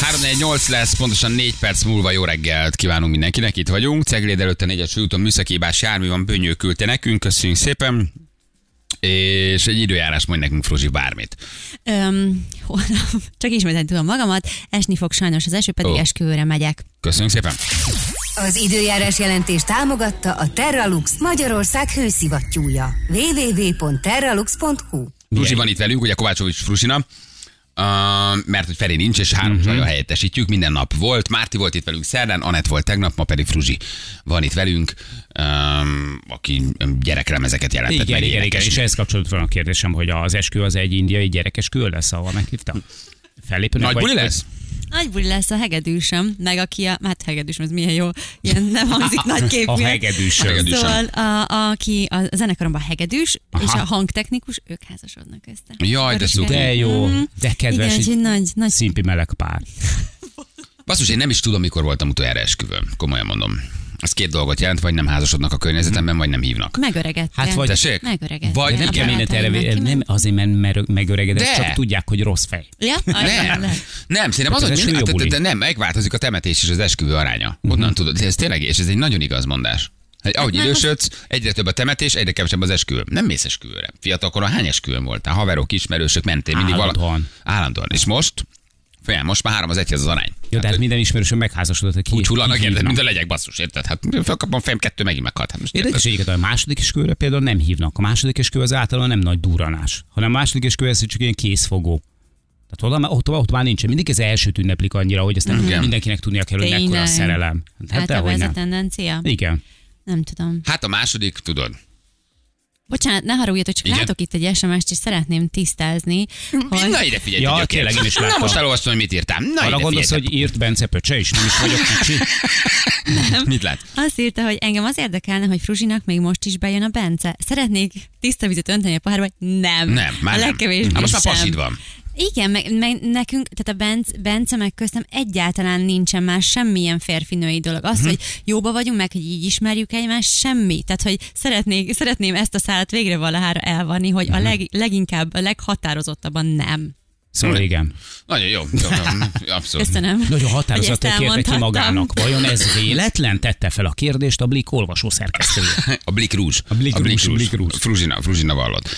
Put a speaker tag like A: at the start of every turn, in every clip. A: 348 lesz, pontosan 4 perc múlva jó reggelt kívánunk mindenkinek, itt vagyunk. Cegléd előtt a 4-es úton műszakébás jármű van, Bönyő küldte nekünk, köszönjük szépen. És egy időjárás mond nekünk, Fruzsi, bármit.
B: Öm, holnap csak ismételni tudom magamat, esni fog sajnos az eső, pedig
A: Ó.
B: oh. esküvőre megyek.
A: Köszönjük szépen.
C: Az időjárás jelentés támogatta a Terralux Magyarország hőszivattyúja. www.terralux.hu
A: Fruzsi van itt velünk, ugye Kovácsovics Fruzsina. Uh, mert hogy Feri nincs, és
D: Mhm.
A: három uh-huh. helyettesítjük, minden nap volt. Márti volt itt velünk szerdán, Anett volt tegnap, ma pedig Fruzsi van itt velünk, um, aki gyerekremezeket jelentett.
D: Igen,
A: meg
D: igen, igen,
A: énekesít.
D: és ehhez kapcsolatban van a kérdésem, hogy az eskü az egy indiai gyerekes kül lesz, ahol meghívta? Fellépőnek
A: Nagy
D: vagy-
A: buli lesz?
B: Nagy buli lesz a hegedűsöm, meg aki a, hát hegedűsöm, ez milyen jó, ilyen nem hangzik nagy képű.
D: A hegedűsöm.
A: Hegedűsöm.
B: Szóval a, aki a zenekaromban hegedűs, Aha. és a hangtechnikus, ők házasodnak össze.
A: Jaj, de
B: Örös
A: szuper.
B: reggelt.
D: De jó,
B: Mhm.
D: de kedves,
B: Igen,
D: egy
B: úgyhogy nagy, nagy
D: szimpi meleg pár.
A: Basszus, én nem is tudom, mikor voltam utoljára esküvőn. Komolyan mondom. Ez két dolgot jelent, vagy nem házasodnak a környezetemben, vagy nem hívnak.
B: megöregettem.
D: Hát vagy-
A: Tessék?
B: Megöregettem.
A: Vagy nem
B: A
A: kell
D: Mindent erre,
B: barátaimnak
D: vé-
B: kiment.
D: nem azért, mert merö- megöregedett,
A: Hát, De.
D: csak tudják, hogy rossz fej.
B: Ja? Aj,
A: Nem,
B: nem.
A: nem, szerintem az,
D: Hát
A: hogy
D: ez
A: mind,
D: jó
A: hát, de,
D: buli. Mhm.
A: de nem, megváltozik a temetés és az esküvő aránya. Onnan tudod, ez tényleg, és ez egy nagyon igaz mondás. Hogy ahogy
B: nem,
A: idősödsz, egyre több a temetés, egyre kevesebb az esküvő. Nem mész esküvőre. Fiatalkoron hány esküvőn voltál? Haverok, ismerősök, mentél mindig
D: Állandóan.
A: Állandóan. És most? Faján, most már három az egyhez az arány.
D: Jó, de hát minden ismerősöm megházasodott, aki
A: Úgy hullanak,
D: ki
A: érted,
D: hívnak.
A: mint a legyek basszus, érted? Hát felkapom fejem, kettő megint meghalt. Hát most
D: Érdekes egyiket, hogy a második esküvőre például nem hívnak. A második esküvő az általában nem nagy durranás, hanem a második esküvő ez csak ilyen készfogó. Tehát oda, már- ott, ott már nincsen. Mindig ez elsőt ünneplik annyira, hogy ezt nem
A: Igen.
D: mindenkinek tudnia kell, hogy mekkora a
B: Tényleg.
D: szerelem. Hát
B: Általában
D: dehogy
B: ez a
D: nem.
B: tendencia?
D: Igen.
B: Nem tudom.
A: Hát a második, tudod.
B: Bocsánat, ne haragudjatok, csak
A: Igen?
B: Igen? látok itt egy SMS-t, és szeretném tisztázni,
A: Hogy...
B: hogy...
A: Na ide figyelj,
D: Ja,
A: gyökér.
D: tényleg én is
A: Na
D: láttam.
A: most elolvastam, hogy mit írtál. Na
D: Arra
A: ide
D: gondolsz,
A: figyelj,
D: hogy írt Bence Pöcse, és nem is vagyok kicsi.
A: te. Mit lát?
B: Azt írta, hogy engem az érdekelne, hogy Fruzsinak még most is bejön a Bence. Szeretnék tiszta vizet önteni a pohárba, nem.
A: Nem, már
B: a
A: nem.
B: legkevésbé
A: Hát most már
B: sem.
A: pasid van.
B: Igen, meg, meg nekünk, tehát a Bence, Bence meg köztem egyáltalán nincsen már semmilyen férfinői dolog. Az,
A: Mhm.
B: hogy jóba vagyunk, meg hogy így ismerjük egymást, semmi. Tehát, hogy szeretnék, szeretném ezt a szállat végre valahára elvanni, hogy
A: Mhm.
B: a leg, leginkább, a leghatározottabban nem.
D: Szóval igen.
A: Nagyon jó, jó, jó abszolút.
B: Köszönöm.
D: Nagyon
B: Hogy
D: határozottan
B: ezt
D: kérte ki
B: elmondhattam.
D: magának. Vajon ez véletlen? Tette fel a kérdést a Blik olvasó szerkesztője.
A: A Blik Rúzs.
D: A Blik Rúzs, Blik Rúzs.
A: Fruzsina, Fruzsina vallott.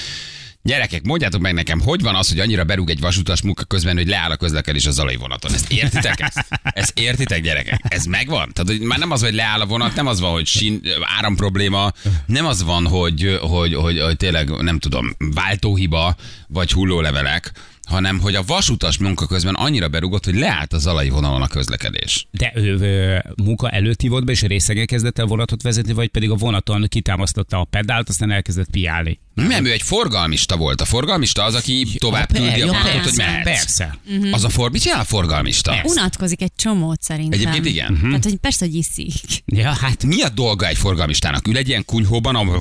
A: Gyerekek, mondjátok meg nekem, hogy van az, hogy annyira berúg egy vasutas munka közben, hogy leáll a közlekedés a zalai vonaton. Ezt értitek? Ezt, ezt értitek, gyerekek? Ez megvan? Tehát hogy már nem az, hogy leáll a vonat, nem az van, hogy sín, áram probléma, nem az van, hogy, hogy, hogy, hogy tényleg, nem tudom, váltóhiba, vagy hullólevelek, hanem hogy a vasutas munka közben annyira berúgott, hogy leállt a zalai vonalon a közlekedés.
D: De ő, ö, munka előtt hívott be, és részegen kezdett el vonatot vezetni, vagy pedig a vonaton kitámasztotta a pedált, aztán elkezdett piálni.
A: Nem, ő egy forgalmista volt. A forgalmista az, aki tovább küldi a
D: Ja,
A: vonatot, hogy
D: persze,
A: mehetsz.
D: Persze.
A: Az a for, mit csinál a forgalmista?
B: Unatkozik egy csomót szerintem.
A: Egyébként igen. Mhm.
B: Tehát, hogy persze, hogy iszik.
D: Ja, hát
A: Mi a dolga egy forgalmistának? Ül egy ilyen kunyhóban, ahol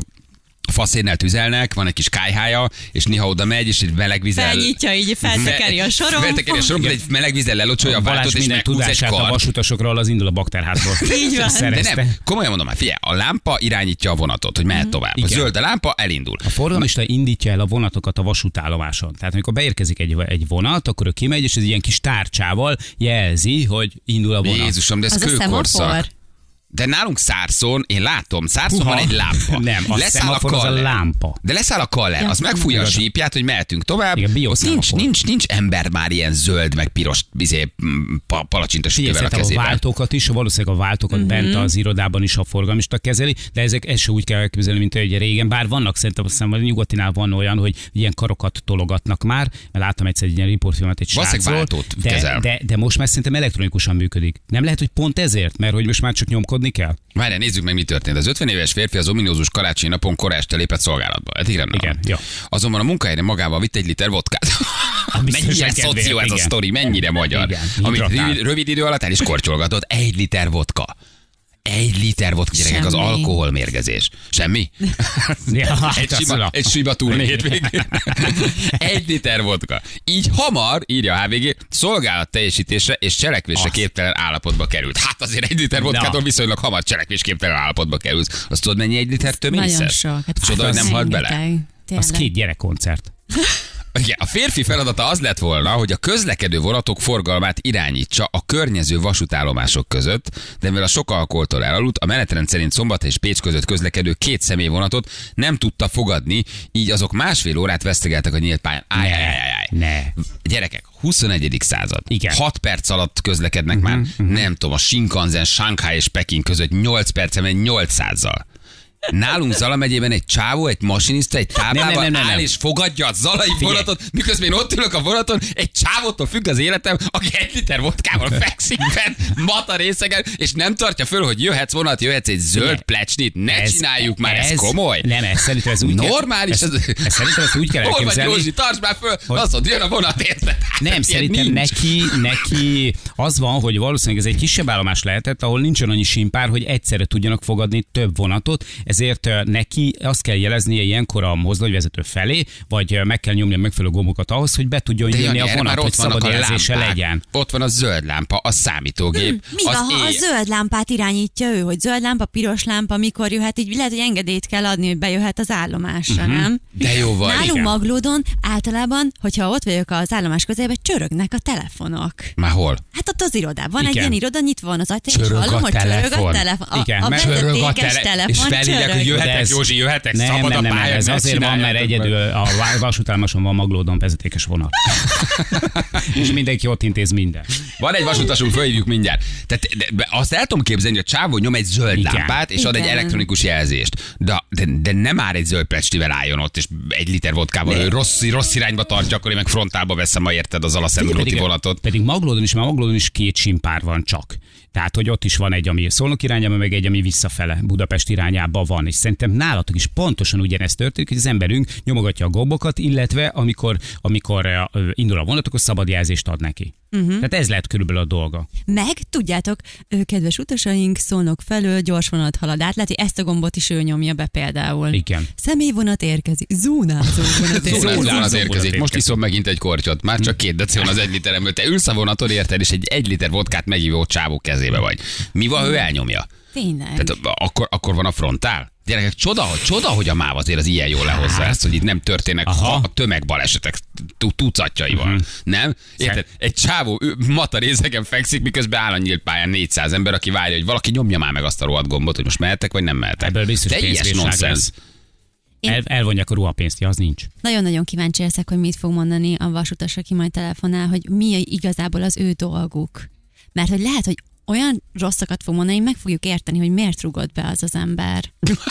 A: faszénnel tüzelnek, van egy kis kájhája, és néha oda megy, és egy meleg vízzel...
B: Felnyitja, így feltekeri a sorom.
A: Feltekeri a sorom, egy meleg vízzel lelocsolja a
D: Balázs
A: váltót, és
D: minden
A: meghúz egy
D: tudását a
A: kart.
D: vasutasokról az indul a bakterházból.
B: Így van.
A: De
D: Szerezte.
A: nem, komolyan mondom már, figyelj, a lámpa irányítja a vonatot, hogy
B: Mhm.
A: mehet tovább. A
D: Igen.
A: zöld a lámpa, elindul.
D: A forgalmista indítja el a vonatokat a vasútállomáson. Tehát amikor beérkezik egy, egy vonat, akkor ő kimegy, és ez ilyen kis tárcsával jelzi, hogy indul a vonat.
A: Jézusom, de ez
B: Az a
A: kőkorszak.
B: szemafor.
A: De nálunk szárszon, én látom, szárszon
D: Puha.
A: van egy lámpa.
D: Szóval Nem, a szemafor az a
A: kaller.
D: lámpa.
A: De leszáll a kaller,
B: Ja,
A: az megfújja a
D: igazad.
A: sípját, hogy mehetünk tovább.
D: Igen,
A: Ott
D: bioszemafor.
A: nincs, nincs, nincs ember már ilyen zöld, meg piros, izé, mm, pa, palacsinta
D: Figyelj,
A: sütővel a
D: szerintem
A: kezében.
D: a váltókat is, valószínűleg a váltókat bent az irodában is a forgalmista kezeli, de ezek ezt se úgy kell elképzelni, mint egy régen. Bár vannak szerintem, azt hiszem, a nyugatinál van olyan, hogy ilyen karokat tologatnak már, mert láttam egyszer egy ilyen riportfilmet egy
A: Valószínűleg
D: srácról,
A: váltót
D: de,
A: kezel.
D: de, de, most már szerintem elektronikusan működik. Nem lehet, hogy pont ezért, mert hogy most már csak nyomkodni kell?
A: Várjál, nézzük meg, mi történt. Az 50 éves férfi az ominózus karácsonyi napon kora este lépett szolgálatba. Hát Ez igen,
D: Igen, jó.
A: Azonban a munkahelyre magával vitt egy liter vodkát. mennyire
D: biztonság kedvéért,
A: szoció ez a
D: igen.
A: sztori, mennyire magyar.
D: Igen,
A: Amit
D: hidratál.
A: rövid, rövid idő alatt el is korcsolgatott. Egy liter vodka. Egy liter vodka, gyerekek, az
B: Semmi.
A: alkoholmérgezés. Semmi?
D: Ja,
A: egy,
D: hát
A: sima,
D: azt hát
A: egy sima túrné
D: Igen.
A: hétvégén. egy liter vodka. Így hamar, írja a HVG, szolgálat teljesítésre és cselekvésre
D: Azt.
A: képtelen állapotba került. Hát azért egy liter vodkától
D: Na.
A: viszonylag hamar cselekvésképtelen állapotba kerülsz. Azt tudod, mennyi egy liter tömény
B: Nagyon sok. Hát
A: Csoda, hogy nem halt bele.
B: rengeteg.
D: Az
B: Tényleg.
D: két gyerekkoncert.
A: Igen, a férfi feladata az lett volna, hogy a közlekedő vonatok forgalmát irányítsa a környező vasútállomások között, de mivel a sok alkoholtól elaludt, a menetrend szerint Szombat és Pécs között közlekedő két személyvonatot nem tudta fogadni, így azok másfél órát vesztegeltek a nyílt pályán. Áj, áj, áj, áj.
D: Ne.
A: Gyerekek, 21. század.
D: Igen. Mhm,
A: 6 perc alatt közlekednek uh-huh, már, uh-huh. nem tudom, a Shinkansen, Shanghai és Peking között 8 percen megy 800-zal. Nálunk Zala megyében egy csávó, egy masinista, egy táblával
D: nem, nem, nem,
A: áll
D: nem.
A: és fogadja a zalai vonatot, miközben én ott ülök a vonaton, egy csávótól függ az életem, aki egy liter vodkával fekszik fent, mata részegen, és nem tartja föl, hogy jöhetsz vonat, jöhetsz egy zöld
D: Figyelj,
A: plecsnit, ne csináljuk már, ez, komoly.
D: Nem, ez szerintem ez úgy kell-
A: Normális.
D: ez, ez, szerintem ezt úgy kell
A: Hol vagy
D: elképzelni.
A: Józsi, tartsd már föl,
D: hogy-
A: azt mondja, jön a vonat, érted? Hát
D: Nem,
A: Ilyen
D: szerintem
A: nincs.
D: neki, neki az van, hogy valószínűleg ez egy kisebb állomás lehetett, ahol nincsen annyi simpár, hogy egyszerre tudjanak fogadni több vonatot, ezért ö, neki azt kell jeleznie ilyenkor a mozdonyvezető felé, vagy ö, meg kell nyomni a megfelelő gombokat ahhoz, hogy be tudjon
A: De
D: jönni
A: Jani,
D: a
A: erre
D: vonat,
A: már
D: hogy
A: ott vannak
D: szabad
A: a
D: jelzése
A: lámpák.
D: legyen.
A: Ott van a zöld lámpa, a számítógép.
B: Hm, Mi van, ha a
A: éj-
B: zöld lámpát irányítja ő, hogy zöld lámpa, piros lámpa, mikor jöhet, így lehet, hogy engedélyt kell adni, hogy bejöhet az állomásra, uh-huh. nem?
A: Mhm. De jó van.
B: Nálunk
A: igen.
B: Maglódon általában, hogyha ott vagyok az állomás közelében, csörögnek a telefonok.
A: Már hol?
B: Hát ott az irodában. Van egy
D: Igen.
B: ilyen iroda, nyitva van az ajtó, és
A: Csörög a
B: hallom, hogy csörög a
A: telefon.
B: telefon. A,
D: Igen,
B: a
D: mert csörög
A: Csörög a
B: vezetékes
A: tele-
B: telefon
A: És felhívják, hogy
B: csörög.
D: jö-
A: jöhetek,
D: ez-
A: Józsi, jöhetek,
D: Nem,
A: szabad
D: nem,
A: a
D: nem,
A: pálya.
D: nem, ez
A: ne
D: azért van, mert
A: csináljátok meg.
D: egyedül a vá- vasútállomáson van Maglódon vezetékes vonat. És mindenki ott intéz minden.
A: Van egy vasutasunk, fölhívjuk mindjárt. Tehát de, de azt el tudom képzelni, hogy a csávó nyom egy zöld
D: Igen.
A: lámpát, és ad egy
B: Igen.
A: elektronikus jelzést. De, de, de nem már egy zöld plecstivel álljon ott, és egy liter vodkával, ő rossz, rossz irányba tartja, akkor én meg frontálba veszem, ha érted az alaszemlóti
D: pedig,
A: vonatot.
D: Pedig Maglódon is, már Maglódon is két simpár van csak. Tehát, hogy ott is van egy, ami szolnok irányába, meg egy, ami visszafele Budapest irányába van. És szerintem nálatok is pontosan ugyanezt történik, hogy az emberünk nyomogatja a gombokat, illetve amikor, amikor ö, indul a vonat, akkor szabad jelzést ad neki. Uh-huh. Tehát ez lehet körülbelül a dolga.
B: Meg, tudjátok, ő, kedves utasaink, szólnak felől, gyors vonat halad át, lehet, hogy ezt a gombot is ő nyomja be például.
D: Igen.
B: Személyvonat érkezik, zónázó
A: Zónás
B: vonat
D: Zónás
B: érkezik.
A: vonat
D: vonat
A: érkezik. Most
D: érkezik.
A: iszom megint egy kortyot, már csak két deci van az egy literemből. Te ülsz a vonaton, érted, és egy egy liter vodkát megívó csávó kezébe vagy. Mi van, ha ő elnyomja?
B: Tényleg.
A: Tehát akkor, akkor van a frontál? Gyerekek, csoda, hogy, csoda, hogy a MÁV azért az ilyen jól lehozza ezt, hogy itt nem történnek
D: Hát. Aha. Mhm.
A: a tömegbalesetek tu- tucatjaival. Uh-huh. Nem? Érted?
D: Hát.
A: Egy csávó ő mata részegen fekszik, miközben áll a nyílt pályán 400 ember, aki várja, hogy valaki nyomja már meg azt a rohadt gombot, hogy most mehetek, vagy nem mehetek.
D: Ebből biztos
A: De ilyes
D: pénzbírság
A: nonsens.
D: lesz.
B: Én-
D: El, elvonják a ruhapénzt, ja, az nincs.
B: Nagyon-nagyon kíváncsi leszek, hogy mit fog mondani a vasutas, aki majd telefonál, hogy mi igazából az ő dolguk. Mert hogy lehet, hogy olyan rosszakat fog mondani, meg fogjuk érteni, hogy miért rugott be az az ember.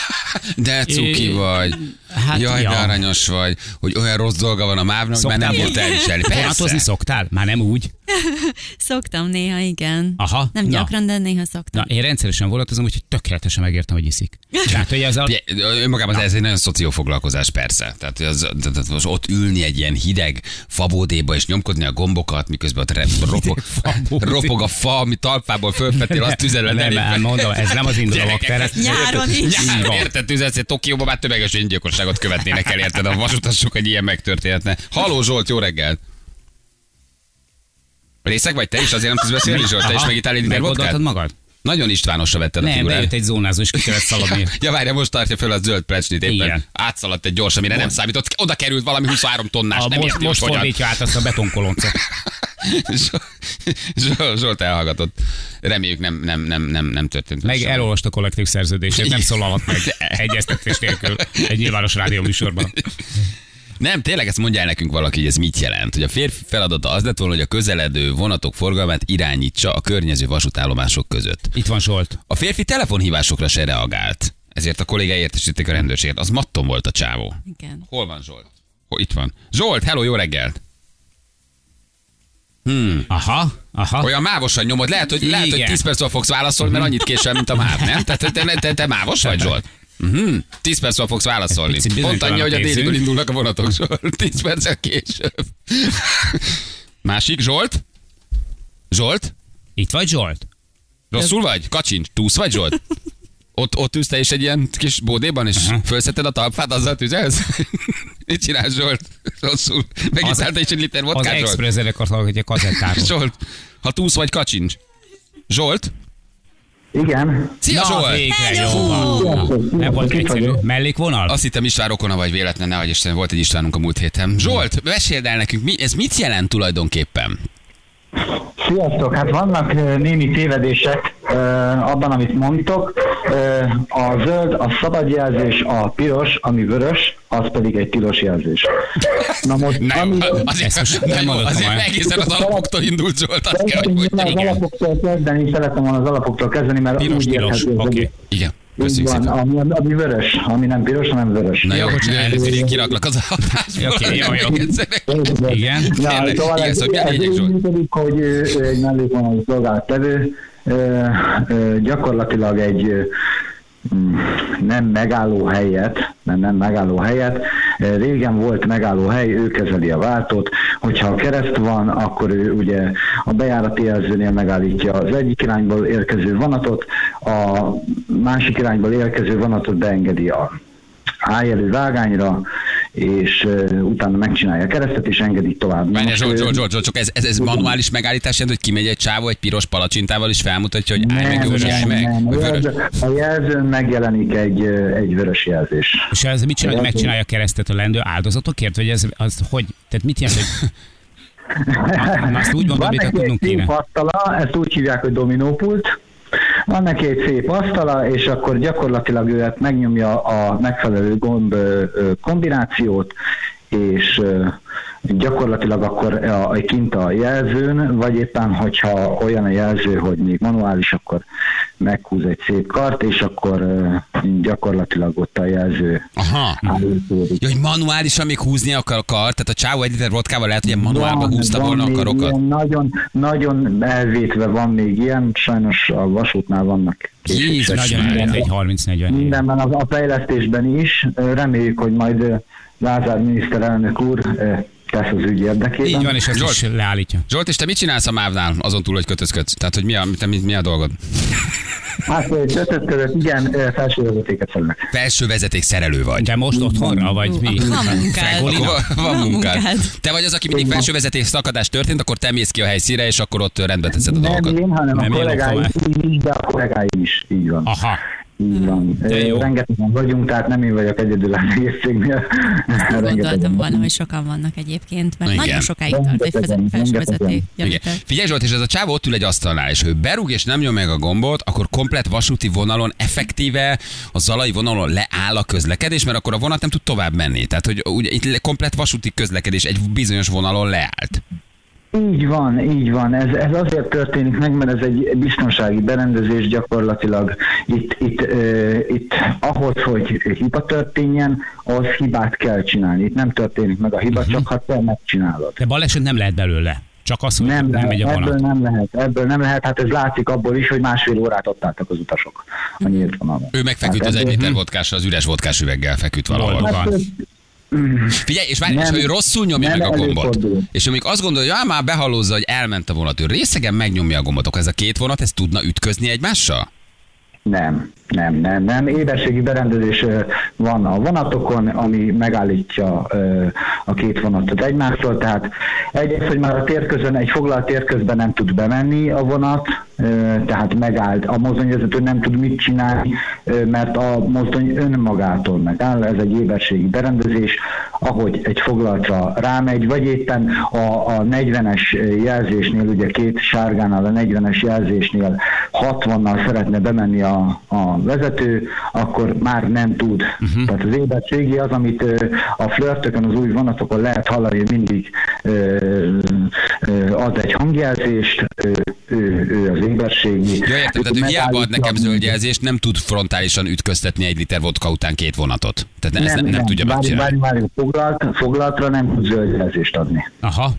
A: De cuki
D: Ö,
A: vagy. Hát
D: hát
A: Jaj, ja.
D: ja.
A: de aranyos vagy, hogy olyan rossz dolga van a mávnak, mert nem
D: Szoktál
A: bírt elviselni.
D: Vonatozni
A: Persze.
D: szoktál? Már nem úgy.
B: Szoktam néha, igen.
D: Aha,
B: Nem
D: na.
B: gyakran, de néha szoktam.
D: Na, én rendszeresen vonatozom, úgyhogy tökéletesen megértem, hogy iszik. Tehát, hogy ez a...
A: Ugye, Önmagában ez egy nagyon szoció foglalkozás, persze. Tehát az, tehát az most ott ülni egy ilyen hideg fabódéba és nyomkodni a gombokat, miközben ott re- ropog,
D: fabódé.
A: ropog a fa, ami talpából fölfettél, azt tüzelve
D: nem, nem, mondom, ez nem az indulóak
A: Gyerekek,
D: tere.
B: Nyáron is.
D: Így
A: Nyáron,
D: van.
A: érted, tüzelsz, hogy Tokióban már tömeges öngyilkosságot követnének el, érted? A vasutasok, hogy ilyen megtörténhetne. Haló Zsolt, jó reggel! Részek vagy te is? Azért nem tudsz beszélni, Zsolt? Te is
D: Aha,
A: megittál egy liter vodkát?
D: Megoldhatod magad?
A: Nagyon Istvánosra vetted a
D: Nem,
A: figurát.
D: bejött egy zónázó, és ki kellett szaladni.
A: Ja, várja, most tartja föl a zöld plecsnit éppen. Igen.
D: Igen.
A: Átszaladt egy gyors, amire nem számított. Oda került valami 23 tonnás.
D: A
A: nem
D: most,
A: érti,
D: most
A: hogy hogyan.
D: fordítja át azt a betonkoloncot.
A: Zsolt, Zsolt elhallgatott. Reméljük nem, nem, nem, nem, nem történt.
D: Meg
A: semmi.
D: elolvasta a kollektív szerződését, nem szólalhat meg egyeztetés nélkül egy nyilvános rádió műsorban.
A: Nem, tényleg ezt mondjál nekünk valaki, hogy ez mit jelent. Hogy a férfi feladata az lett volna, hogy a közeledő vonatok forgalmát irányítsa a környező vasútállomások között.
D: Itt van Zsolt.
A: A férfi telefonhívásokra se reagált. Ezért a kollégá értesítették a rendőrséget. Az matton volt a csávó.
B: Igen.
A: Hol van Zsolt? Hol, itt van. Zsolt, hello, jó reggelt!
D: Aha, aha.
A: Hmm. Olyan mávosan nyomod, lehet, hogy, lehet, hogy
D: Igen. Mhm.
A: 10 perc fogsz válaszolni, mert annyit később, mint a máv, nem? Tehát te, te, te mávos vagy, Zsolt? Mhm. 10 perc fogsz válaszolni.
D: Egy picit
A: Pont annyi, hogy a
D: bizonytalan
A: déliből
D: készül.
A: indulnak a vonatok, Zsolt. 10 perccel később. Másik, Zsolt? Zsolt?
D: Itt vagy Zsolt?
A: Rosszul vagy? Kacsincs? Túsz vagy, Zsolt? Ott, ott ülsz te is egy ilyen kis bódéban, és uh-huh. felszetted a talpfát, azzal tüzelsz? Mit csinál Zsolt? Rosszul. Megiszállt te is egy liter
D: Az
A: vodkát, Zsolt?
D: Express zenekart hallgatja kazettáról.
A: Zsolt, ha túsz vagy, kacsincs. Zsolt?
E: Igen.
A: Szia, Zsolt!
D: végre,
B: Hello!
D: jó van. Na, Nem volt
E: Itt
D: egyszerű.
E: vagyok.
D: Mellékvonal?
A: Azt hittem István Rokona vagy véletlen, nehogy Isten, volt egy Istvánunk a múlt héten. Zsolt, meséld el nekünk, mi, ez mit jelent tulajdonképpen?
E: Sziasztok! Hát vannak ö, némi tévedések ö, abban, amit mondtok. Ö, A zöld, a szabad jelzés, a piros, ami vörös, az pedig egy tilos jelzés. Na most,
A: Na jó,
E: ami...
A: azért,
D: Ezt most
A: na
D: nem
A: jó,
D: hallottam
A: azért
D: el.
A: egészen az alapoktól indult Zsolt, azt kell, hogy
E: Szeretném
A: mondjam.
E: volna az
A: Igen.
E: alapoktól kezdeni, szeretem volna az alapoktól kezdeni, mert
D: Piros,
E: úgy
D: tilos.
E: érthető, hogy-
D: Oké.
A: Igen,
E: Így
A: köszönjük
E: van,
A: szépen.
E: ami, ami vörös, ami nem piros, hanem vörös.
A: Na jó,
D: Jó, bocsánat.
A: elnézést, kiraklak az adásból.
D: Oké, jó, jó.
A: Még egyszer.
D: Igen.
A: Tényleg, igen, szóval mi a lényeg, Zsolt?
E: működik, hogy ö, ö, egy mellékvonalú szolgáltevő ö, ö, gyakorlatilag egy ö, mm, nem megálló helyet, nem, nem megálló helyet, ö, régen volt megálló hely, ő kezeli a váltót, hogyha a kereszt van, akkor ő ugye a bejárati jelzőnél megállítja az egyik irányból érkező vonatot, a másik irányból érkező vonatot beengedi a álljelű vágányra, és ö, utána megcsinálja a keresztet, és engedi tovább.
A: Menj,
E: Most,
A: Zsolt,
E: ö,
A: Zsolt, Zsolt, Zsolt, csak ez, ez, ez manuális megállítás jelent, hogy kimegy egy csávó egy piros palacsintával, és felmutatja, hogy állj meg, Józsi, állj meg.
E: nem.
A: Vagy
E: A
A: vörös.
E: jelző- A jelzőn megjelenik egy, ö, egy vörös jelzés.
D: És ez mit csinálja, hogy megcsinálja a keresztet a lendő áldozatokért, vagy ez az hogy? Tehát mit jelent, hogy... Na, na, azt úgy mondom, amit
E: neki
D: tudnunk
E: egy
D: kéne.
E: szép asztala, ezt úgy hívják, hogy dominópult. Van neki egy szép asztala, és akkor gyakorlatilag ő ezt megnyomja a megfelelő gomb ö, ö, kombinációt, és ö, gyakorlatilag akkor a, a- kint a jelzőn, vagy éppen, hogyha olyan a jelző, hogy még manuális, akkor meghúz egy szép kart, és akkor ö, gyakorlatilag ott a jelző
A: Aha.
D: Mhm.
E: állítódik.
A: Ja, hogy manuálisan még húzni akar a kar, tehát a csávó egy liter vodkával lehet, hogy ilyen manuálba
E: Van,
A: húzta
E: van
A: volna a
E: még
A: karokat.
E: ilyen Nagyon, nagyon elvétve van még ilyen, sajnos a vasútnál vannak. késések.
A: Jézus
D: Nagyon
A: Mária.
D: mindent, egy 30-40 év.
E: Mindenben a, a fejlesztésben is. Reméljük, hogy majd ö, Lázár miniszterelnök úr ö, tesz az ügy érdekében.
D: Így van, és ezt
A: Zsolt.
D: is leállítja.
A: Zsolt, és te mit csinálsz a mávnál, azon túl, hogy kötözködsz? Tehát, hogy mi a, te, mi, mi a dolgod?
E: Hát ö, ötöt között igen, ö, felső vezetéket
D: Hát
E: szednek.
A: Felső vezeték szerelő vagy.
D: De most otthonra, vagy mi?
B: Van munkád.
A: Akkor
D: Fregolina?
A: van, van
B: Van
A: munkád.
B: munkád.
A: Te vagy az, aki mindig felső vezeték szakadás történt, akkor te mész ki a helyszíre, és akkor ott rendbe teszed a
E: Nem
A: dolgokat.
E: én, hanem
D: Nem
E: a
D: én,
E: kollégáim
D: Lófa.
E: is, de a kollégáim is. Így van.
D: Aha.
E: Így van.
D: De
E: Ö,
D: jó.
E: Rengetegen vagyunk, tehát nem én vagyok egyedül az egész cégnél.
B: Gondoltam
E: Rengetegen
B: volna, hogy sokan vannak egyébként, mert
A: Igen.
B: Igen. nagyon sokáig tart egy feze-
E: Rengetegen,
B: felső
E: rengetegen.
B: vezeték.
A: Igen.
B: javítás.
A: Figyelj Zsolt, és ez a csávó ott ül egy asztalnál, és ha ő berúg és nem nyom meg a gombot, akkor komplet vasúti vonalon effektíve a zalai vonalon leáll a közlekedés, mert akkor a vonat nem tud tovább menni. Tehát, hogy ugye itt le- komplet vasúti közlekedés egy bizonyos vonalon leállt.
E: Így van, így van. Ez, ez azért történik meg, mert ez egy biztonsági berendezés gyakorlatilag. Itt, itt, ö, itt ahhoz, hogy hiba történjen, az hibát kell csinálni. Itt nem történik meg a hiba,
A: Mhm.
E: csak ha te megcsinálod.
D: De baleset nem lehet belőle. Csak az, hogy
E: Nem,
D: nem,
E: lehet,
D: megy a
E: ebből
D: vonat.
E: nem lehet, ebből nem lehet, hát ez látszik abból is, hogy másfél órát ott álltak az utasok a nyílt vonalon.
A: Ő megfeküdt
E: Hát
A: az egy
E: ebből-
A: liter vodkásra, az üres vodkás üveggel feküdt valahol.
D: Boldog.
E: Hát,
D: van.
A: Figyelj, és várj,
E: Nem.
A: és ha ő rosszul nyomja
E: Nem
A: meg a gombot,
E: előfordul.
A: és ő még azt gondolja, hogy ja, már behallózza, hogy elment a vonat, ő részegen megnyomja a gombot, akkor ez a két vonat, ez tudna ütközni egymással?
E: Nem, nem, nem, nem. Éberségi berendezés ö, van a vonatokon, ami megállítja ö, a két vonatot egymástól. Tehát egyrészt, hogy már a térközön, egy foglalt térközben nem tud bemenni a vonat, ö, tehát megállt. A mozdonyvezető nem tud mit csinálni, ö, mert a mozdony önmagától megáll. Ez egy éberségi berendezés, ahogy egy foglaltra rámegy, vagy éppen a, a 40-es jelzésnél, ugye két sárgánál a 40-es jelzésnél 60-nal szeretne bemenni a, a vezető, akkor már nem tud.
A: Mhm.
E: Uh-huh. Tehát az ébertségi az, amit ö, a flörtökön, az új vonatokon lehet hallani, hogy mindig ö, ö, ad egy hangjelzést, ő, ő, ő az ébertségi.
A: Ja, értem, tehát ő hiába ad nekem zöld jelzést, nem tud frontálisan ütköztetni egy liter vodka után két vonatot. Tehát nem, ezt nem, nem, nem tudja
E: várj,
A: megcsinálni.
E: várj, várj, foglalt, foglaltra nem tud zöld jelzést adni.
D: Aha.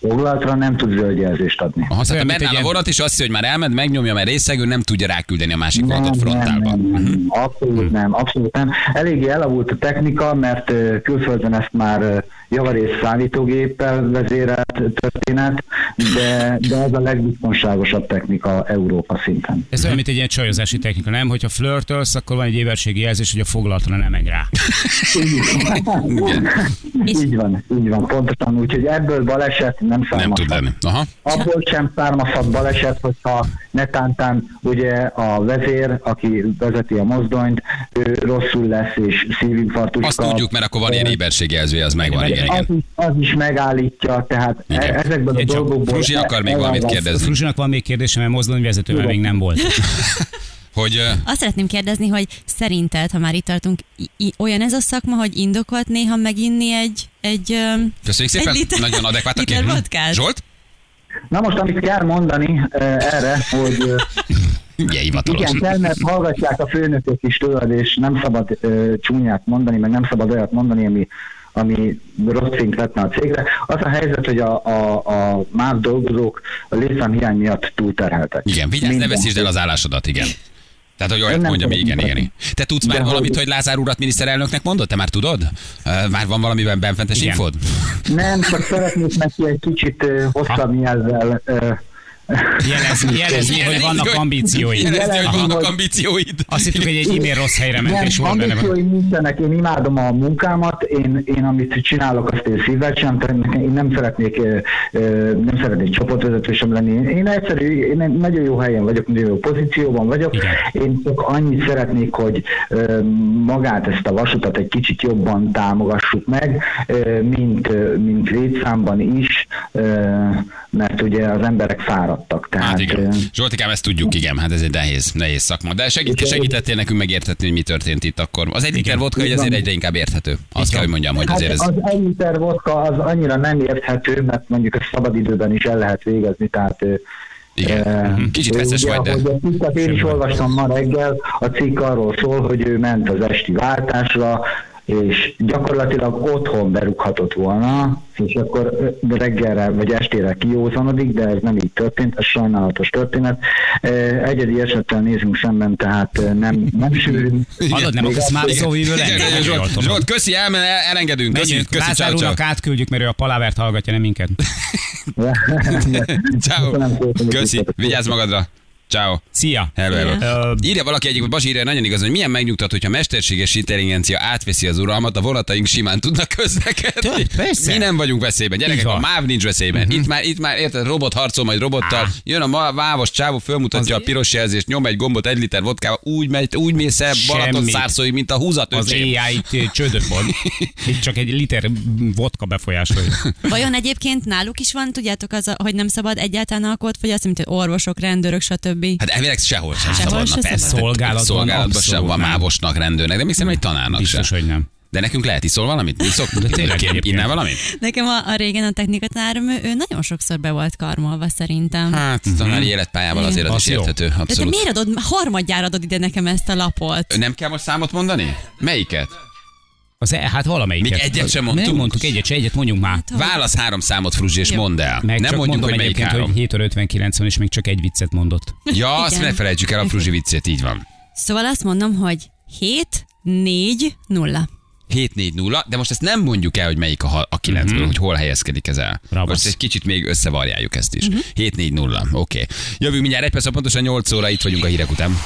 E: Foglalatra nem tud zöld jelzést adni.
A: Aha, szóval
D: Olyan, mint
A: menne
D: egy
A: a
D: ilyen-
A: vonat, és azt hiszi, hogy már elment, megnyomja, mert részeg, ő nem tudja ráküldeni a másik vonatot frontálba.
E: Nem, nem, nem, abszolút
A: Mhm.
E: nem, abszolút nem. Eléggé elavult a technika, mert ö, külföldön ezt már ö, javarész számítógéppel vezérelt történet, de, de ez a legbiztonságosabb technika Európa szinten.
A: Mhm.
D: Ez olyan, mint egy ilyen csajozási technika, nem? Hogyha flörtölsz, akkor van egy éberségi jelzés, hogy a foglalatra nem menj rá.
E: így van, így van, pontosan. Úgyhogy ebből baleset nem
A: Nem tud
E: származhat.
A: lenni. Aha.
E: Abból sem származhat baleset, hogyha netántán ugye a vezér, aki vezeti a mozdonyt, ő rosszul lesz és szívinfarktus
A: Azt
E: kap.
A: tudjuk, mert akkor van ilyen éberségjelzője, az megvan, igen,
E: az,
A: igen.
E: is, az is megállítja, tehát e-
A: Igen.
E: ezekben a
D: Én csak-
E: dolgokból... e-
A: Fruzsi akar még valamit
E: elválaszt.
A: kérdezni,
D: Fruzsinak van még kérdése, mert mozdonyvezető már még nem volt.
A: hogy ö,
B: Azt szeretném kérdezni, hogy szerinted, ha már itt tartunk, i- i- olyan ez a szakma, hogy indokolt néha meginni egy... egy öm,
A: köszönjük szépen,
B: Egy liter-
A: nagyon adekvát a
B: liter
A: kérdés.
B: vodkát.
A: Zsolt?
E: Na most, amit kell mondani e, erre, hogy e,
A: Ugye hivatalos.
E: igen, kell, mert hallgatják a főnökök is tőled, és nem szabad e, csúnyát mondani, meg nem szabad olyat mondani, ami ami rossz fényt vetne a cégre. Az a helyzet, hogy a, a, a más dolgozók a létszámhiány miatt túlterheltek.
A: Igen, vigyázz, ne
E: Mindenki.
A: veszítsd el az állásodat, igen. Tehát, hogy
E: Én
A: olyat
E: nem
A: mondja, mi
E: tudom
A: igen, igen.
E: mondani.
A: Te tudsz már
E: De
A: valamit,
E: hogy-
A: hogy Lázár urat miniszterelnöknek mondott? Te már tudod? Ö, Már van valamiben benfentes
D: Igen.
A: infód?
E: Nem, csak szeretnék neki egy kicsit ö, hosszabb e, jelzzel ö,
D: Jelezni, jelezni hogy vannak ambíciói.
A: Jelezni, hogy
E: Jelezni,
A: vannak
E: hogy-
A: ambícióid.
D: Azt hittük, hogy egy e-mail rossz helyre ment, és volt benne.
E: ambícióim nincsenek, én imádom a munkámat, én, én amit csinálok, azt én szívvel csinálom, tehát nekem- én nem szeretnék, ö, ö, nem szeretnék csoportvezető sem lenni. Én, én egyszerű, én egy nagyon jó helyen vagyok, nagyon jó pozícióban vagyok,
D: Igen.
E: én csak annyit szeretnék, hogy ö, magát ezt a vasutat egy kicsit jobban támogassuk meg, ö, mint, ö, mint létszámban is, ö, mert ugye az emberek fáradtak. Tehát,
A: Hát igen.
E: ö,
A: Zsoltikám, ezt tudjuk, igen, hát ez egy nehéz, nehéz szakma. De segít, segítettél nekünk megértetni, hogy mi történt itt akkor. Az egy liter vodka, hogy azért egyre inkább érthető. Azt kell, hogy mondjam, hogy
E: Hát
A: azért ez...
E: az egy liter vodka az annyira nem érthető, mert mondjuk ezt szabadidőben is el lehet végezni, tehát ö,
A: Igen.
E: ö,
A: Mhm. Kicsit
E: ö,
A: veszes
E: ugye,
A: vagy, de-
E: ahogy a cikket Én is olvastam ma reggel, a cikk arról szól, hogy ő ment az esti váltásra, és gyakorlatilag otthon berúghatott volna, és akkor ö, reggelre vagy estére kiózanodik, de ez nem így történt, ez sajnálatos történet. Ö, Egyedi esettel nézünk szemben, tehát ö, nem, nem sűrűn.
D: Hallod, nem akarsz már szóvívő lenni?
A: Igen,
D: Nagyon Szóval jól
A: Zsolt,
D: tudom.
A: Zsolt, köszi, el, elengedünk. Köszi,
D: Megyünk,
A: köszi,
D: Lázár
A: ciao, ciao.
D: úrnak átküldjük, mert ő a palávert hallgatja, nem minket.
A: Ciao.
E: Köszönöm szépen,
A: Köszi,
E: hogy
A: vigyázz magadra. Ciao.
D: Szia!
A: Hello, hello.
D: Ö,
A: Írja valaki egyik, Bazsi írja, nagyon igaz, hogy milyen megnyugtat, hogyha mesterséges intelligencia átveszi az uralmat, a vonataink simán tudnak közlekedni.
D: Tö- persze.
A: Mi nem vagyunk veszélyben, gyerekek,
D: Így
A: a
D: van. Mhm.
A: MÁV nincs veszélyben. Itt már, itt már érted, robot harcol majd robottal,
D: Á.
A: jön a ma- vávos csávó, fölmutatja a piros jelzést, nyom egy gombot egy liter vodkával, úgy megy, úgy mész el Balaton
D: Semmit.
A: szárszói, mint a
D: Az
A: húzatőség.
D: AI itt csődöt mond. Itt csak egy liter vodka befolyásolja.
B: Vajon egyébként náluk is van, tudjátok, az, a- hogy nem szabad egyáltalán alkot, vagy azt, mint hogy orvosok, rendőrök, stb.
A: Hát elvileg sehol sem
B: Sehol
A: szabadna,
B: se
A: persze.
B: szabad.
D: Szolgálatban
A: Szolgálatban
D: abszolút
A: sem van
D: nem.
A: mávosnak, rendőrnek, de még szerintem egy tanárnak
D: Biztos,
A: sem.
D: hogy nem.
A: De nekünk lehet iszol valamit? Mi szoktunk?
D: tényleg
A: Kér-
D: egyébként.
A: Innál valamit?
B: Nekem a, a régen a technikatárom, ő, ő nagyon sokszor be volt karmolva szerintem. De
A: Hát, tanári életpályával azért az
D: Mhm. Az
A: is
D: jó.
A: érthető,
B: te
A: abszolút.
B: miért adod, harmadjára adod ide nekem ezt a lapot?
A: Nem kell most számot mondani? Melyiket?
D: Az, hát valamelyiket.
A: Még egyet sem mondtunk.
D: Nem mondtuk egyet, se egyet mondjunk
A: Hát,
D: már.
A: Válasz három számot, Fruzsi, és
B: Jó.
A: mondd el.
D: Meg
A: nem
D: csak
A: mondjuk,
D: mondom
A: hogy melyik
D: egyébként,
A: három.
D: hogy 7 óra 59 van, és még csak egy viccet mondott.
A: Ja, azt
B: Igen.
A: ne felejtsük el a Fruzsi viccét, így van.
B: Szóval azt mondom, hogy 7, 4, 0.
A: 7-4-0, de most ezt nem mondjuk el, hogy melyik a, ha- a 9 mm-hmm. hogy hol helyezkedik ez el.
D: Mhm. Ravasz. Mhm.
A: Most egy kicsit még összevarjáljuk ezt is. Mm-hmm. 7-4-0, oké. Okay. Jövünk mindjárt egy perc, pontosan 8 óra, itt vagyunk a hírek után.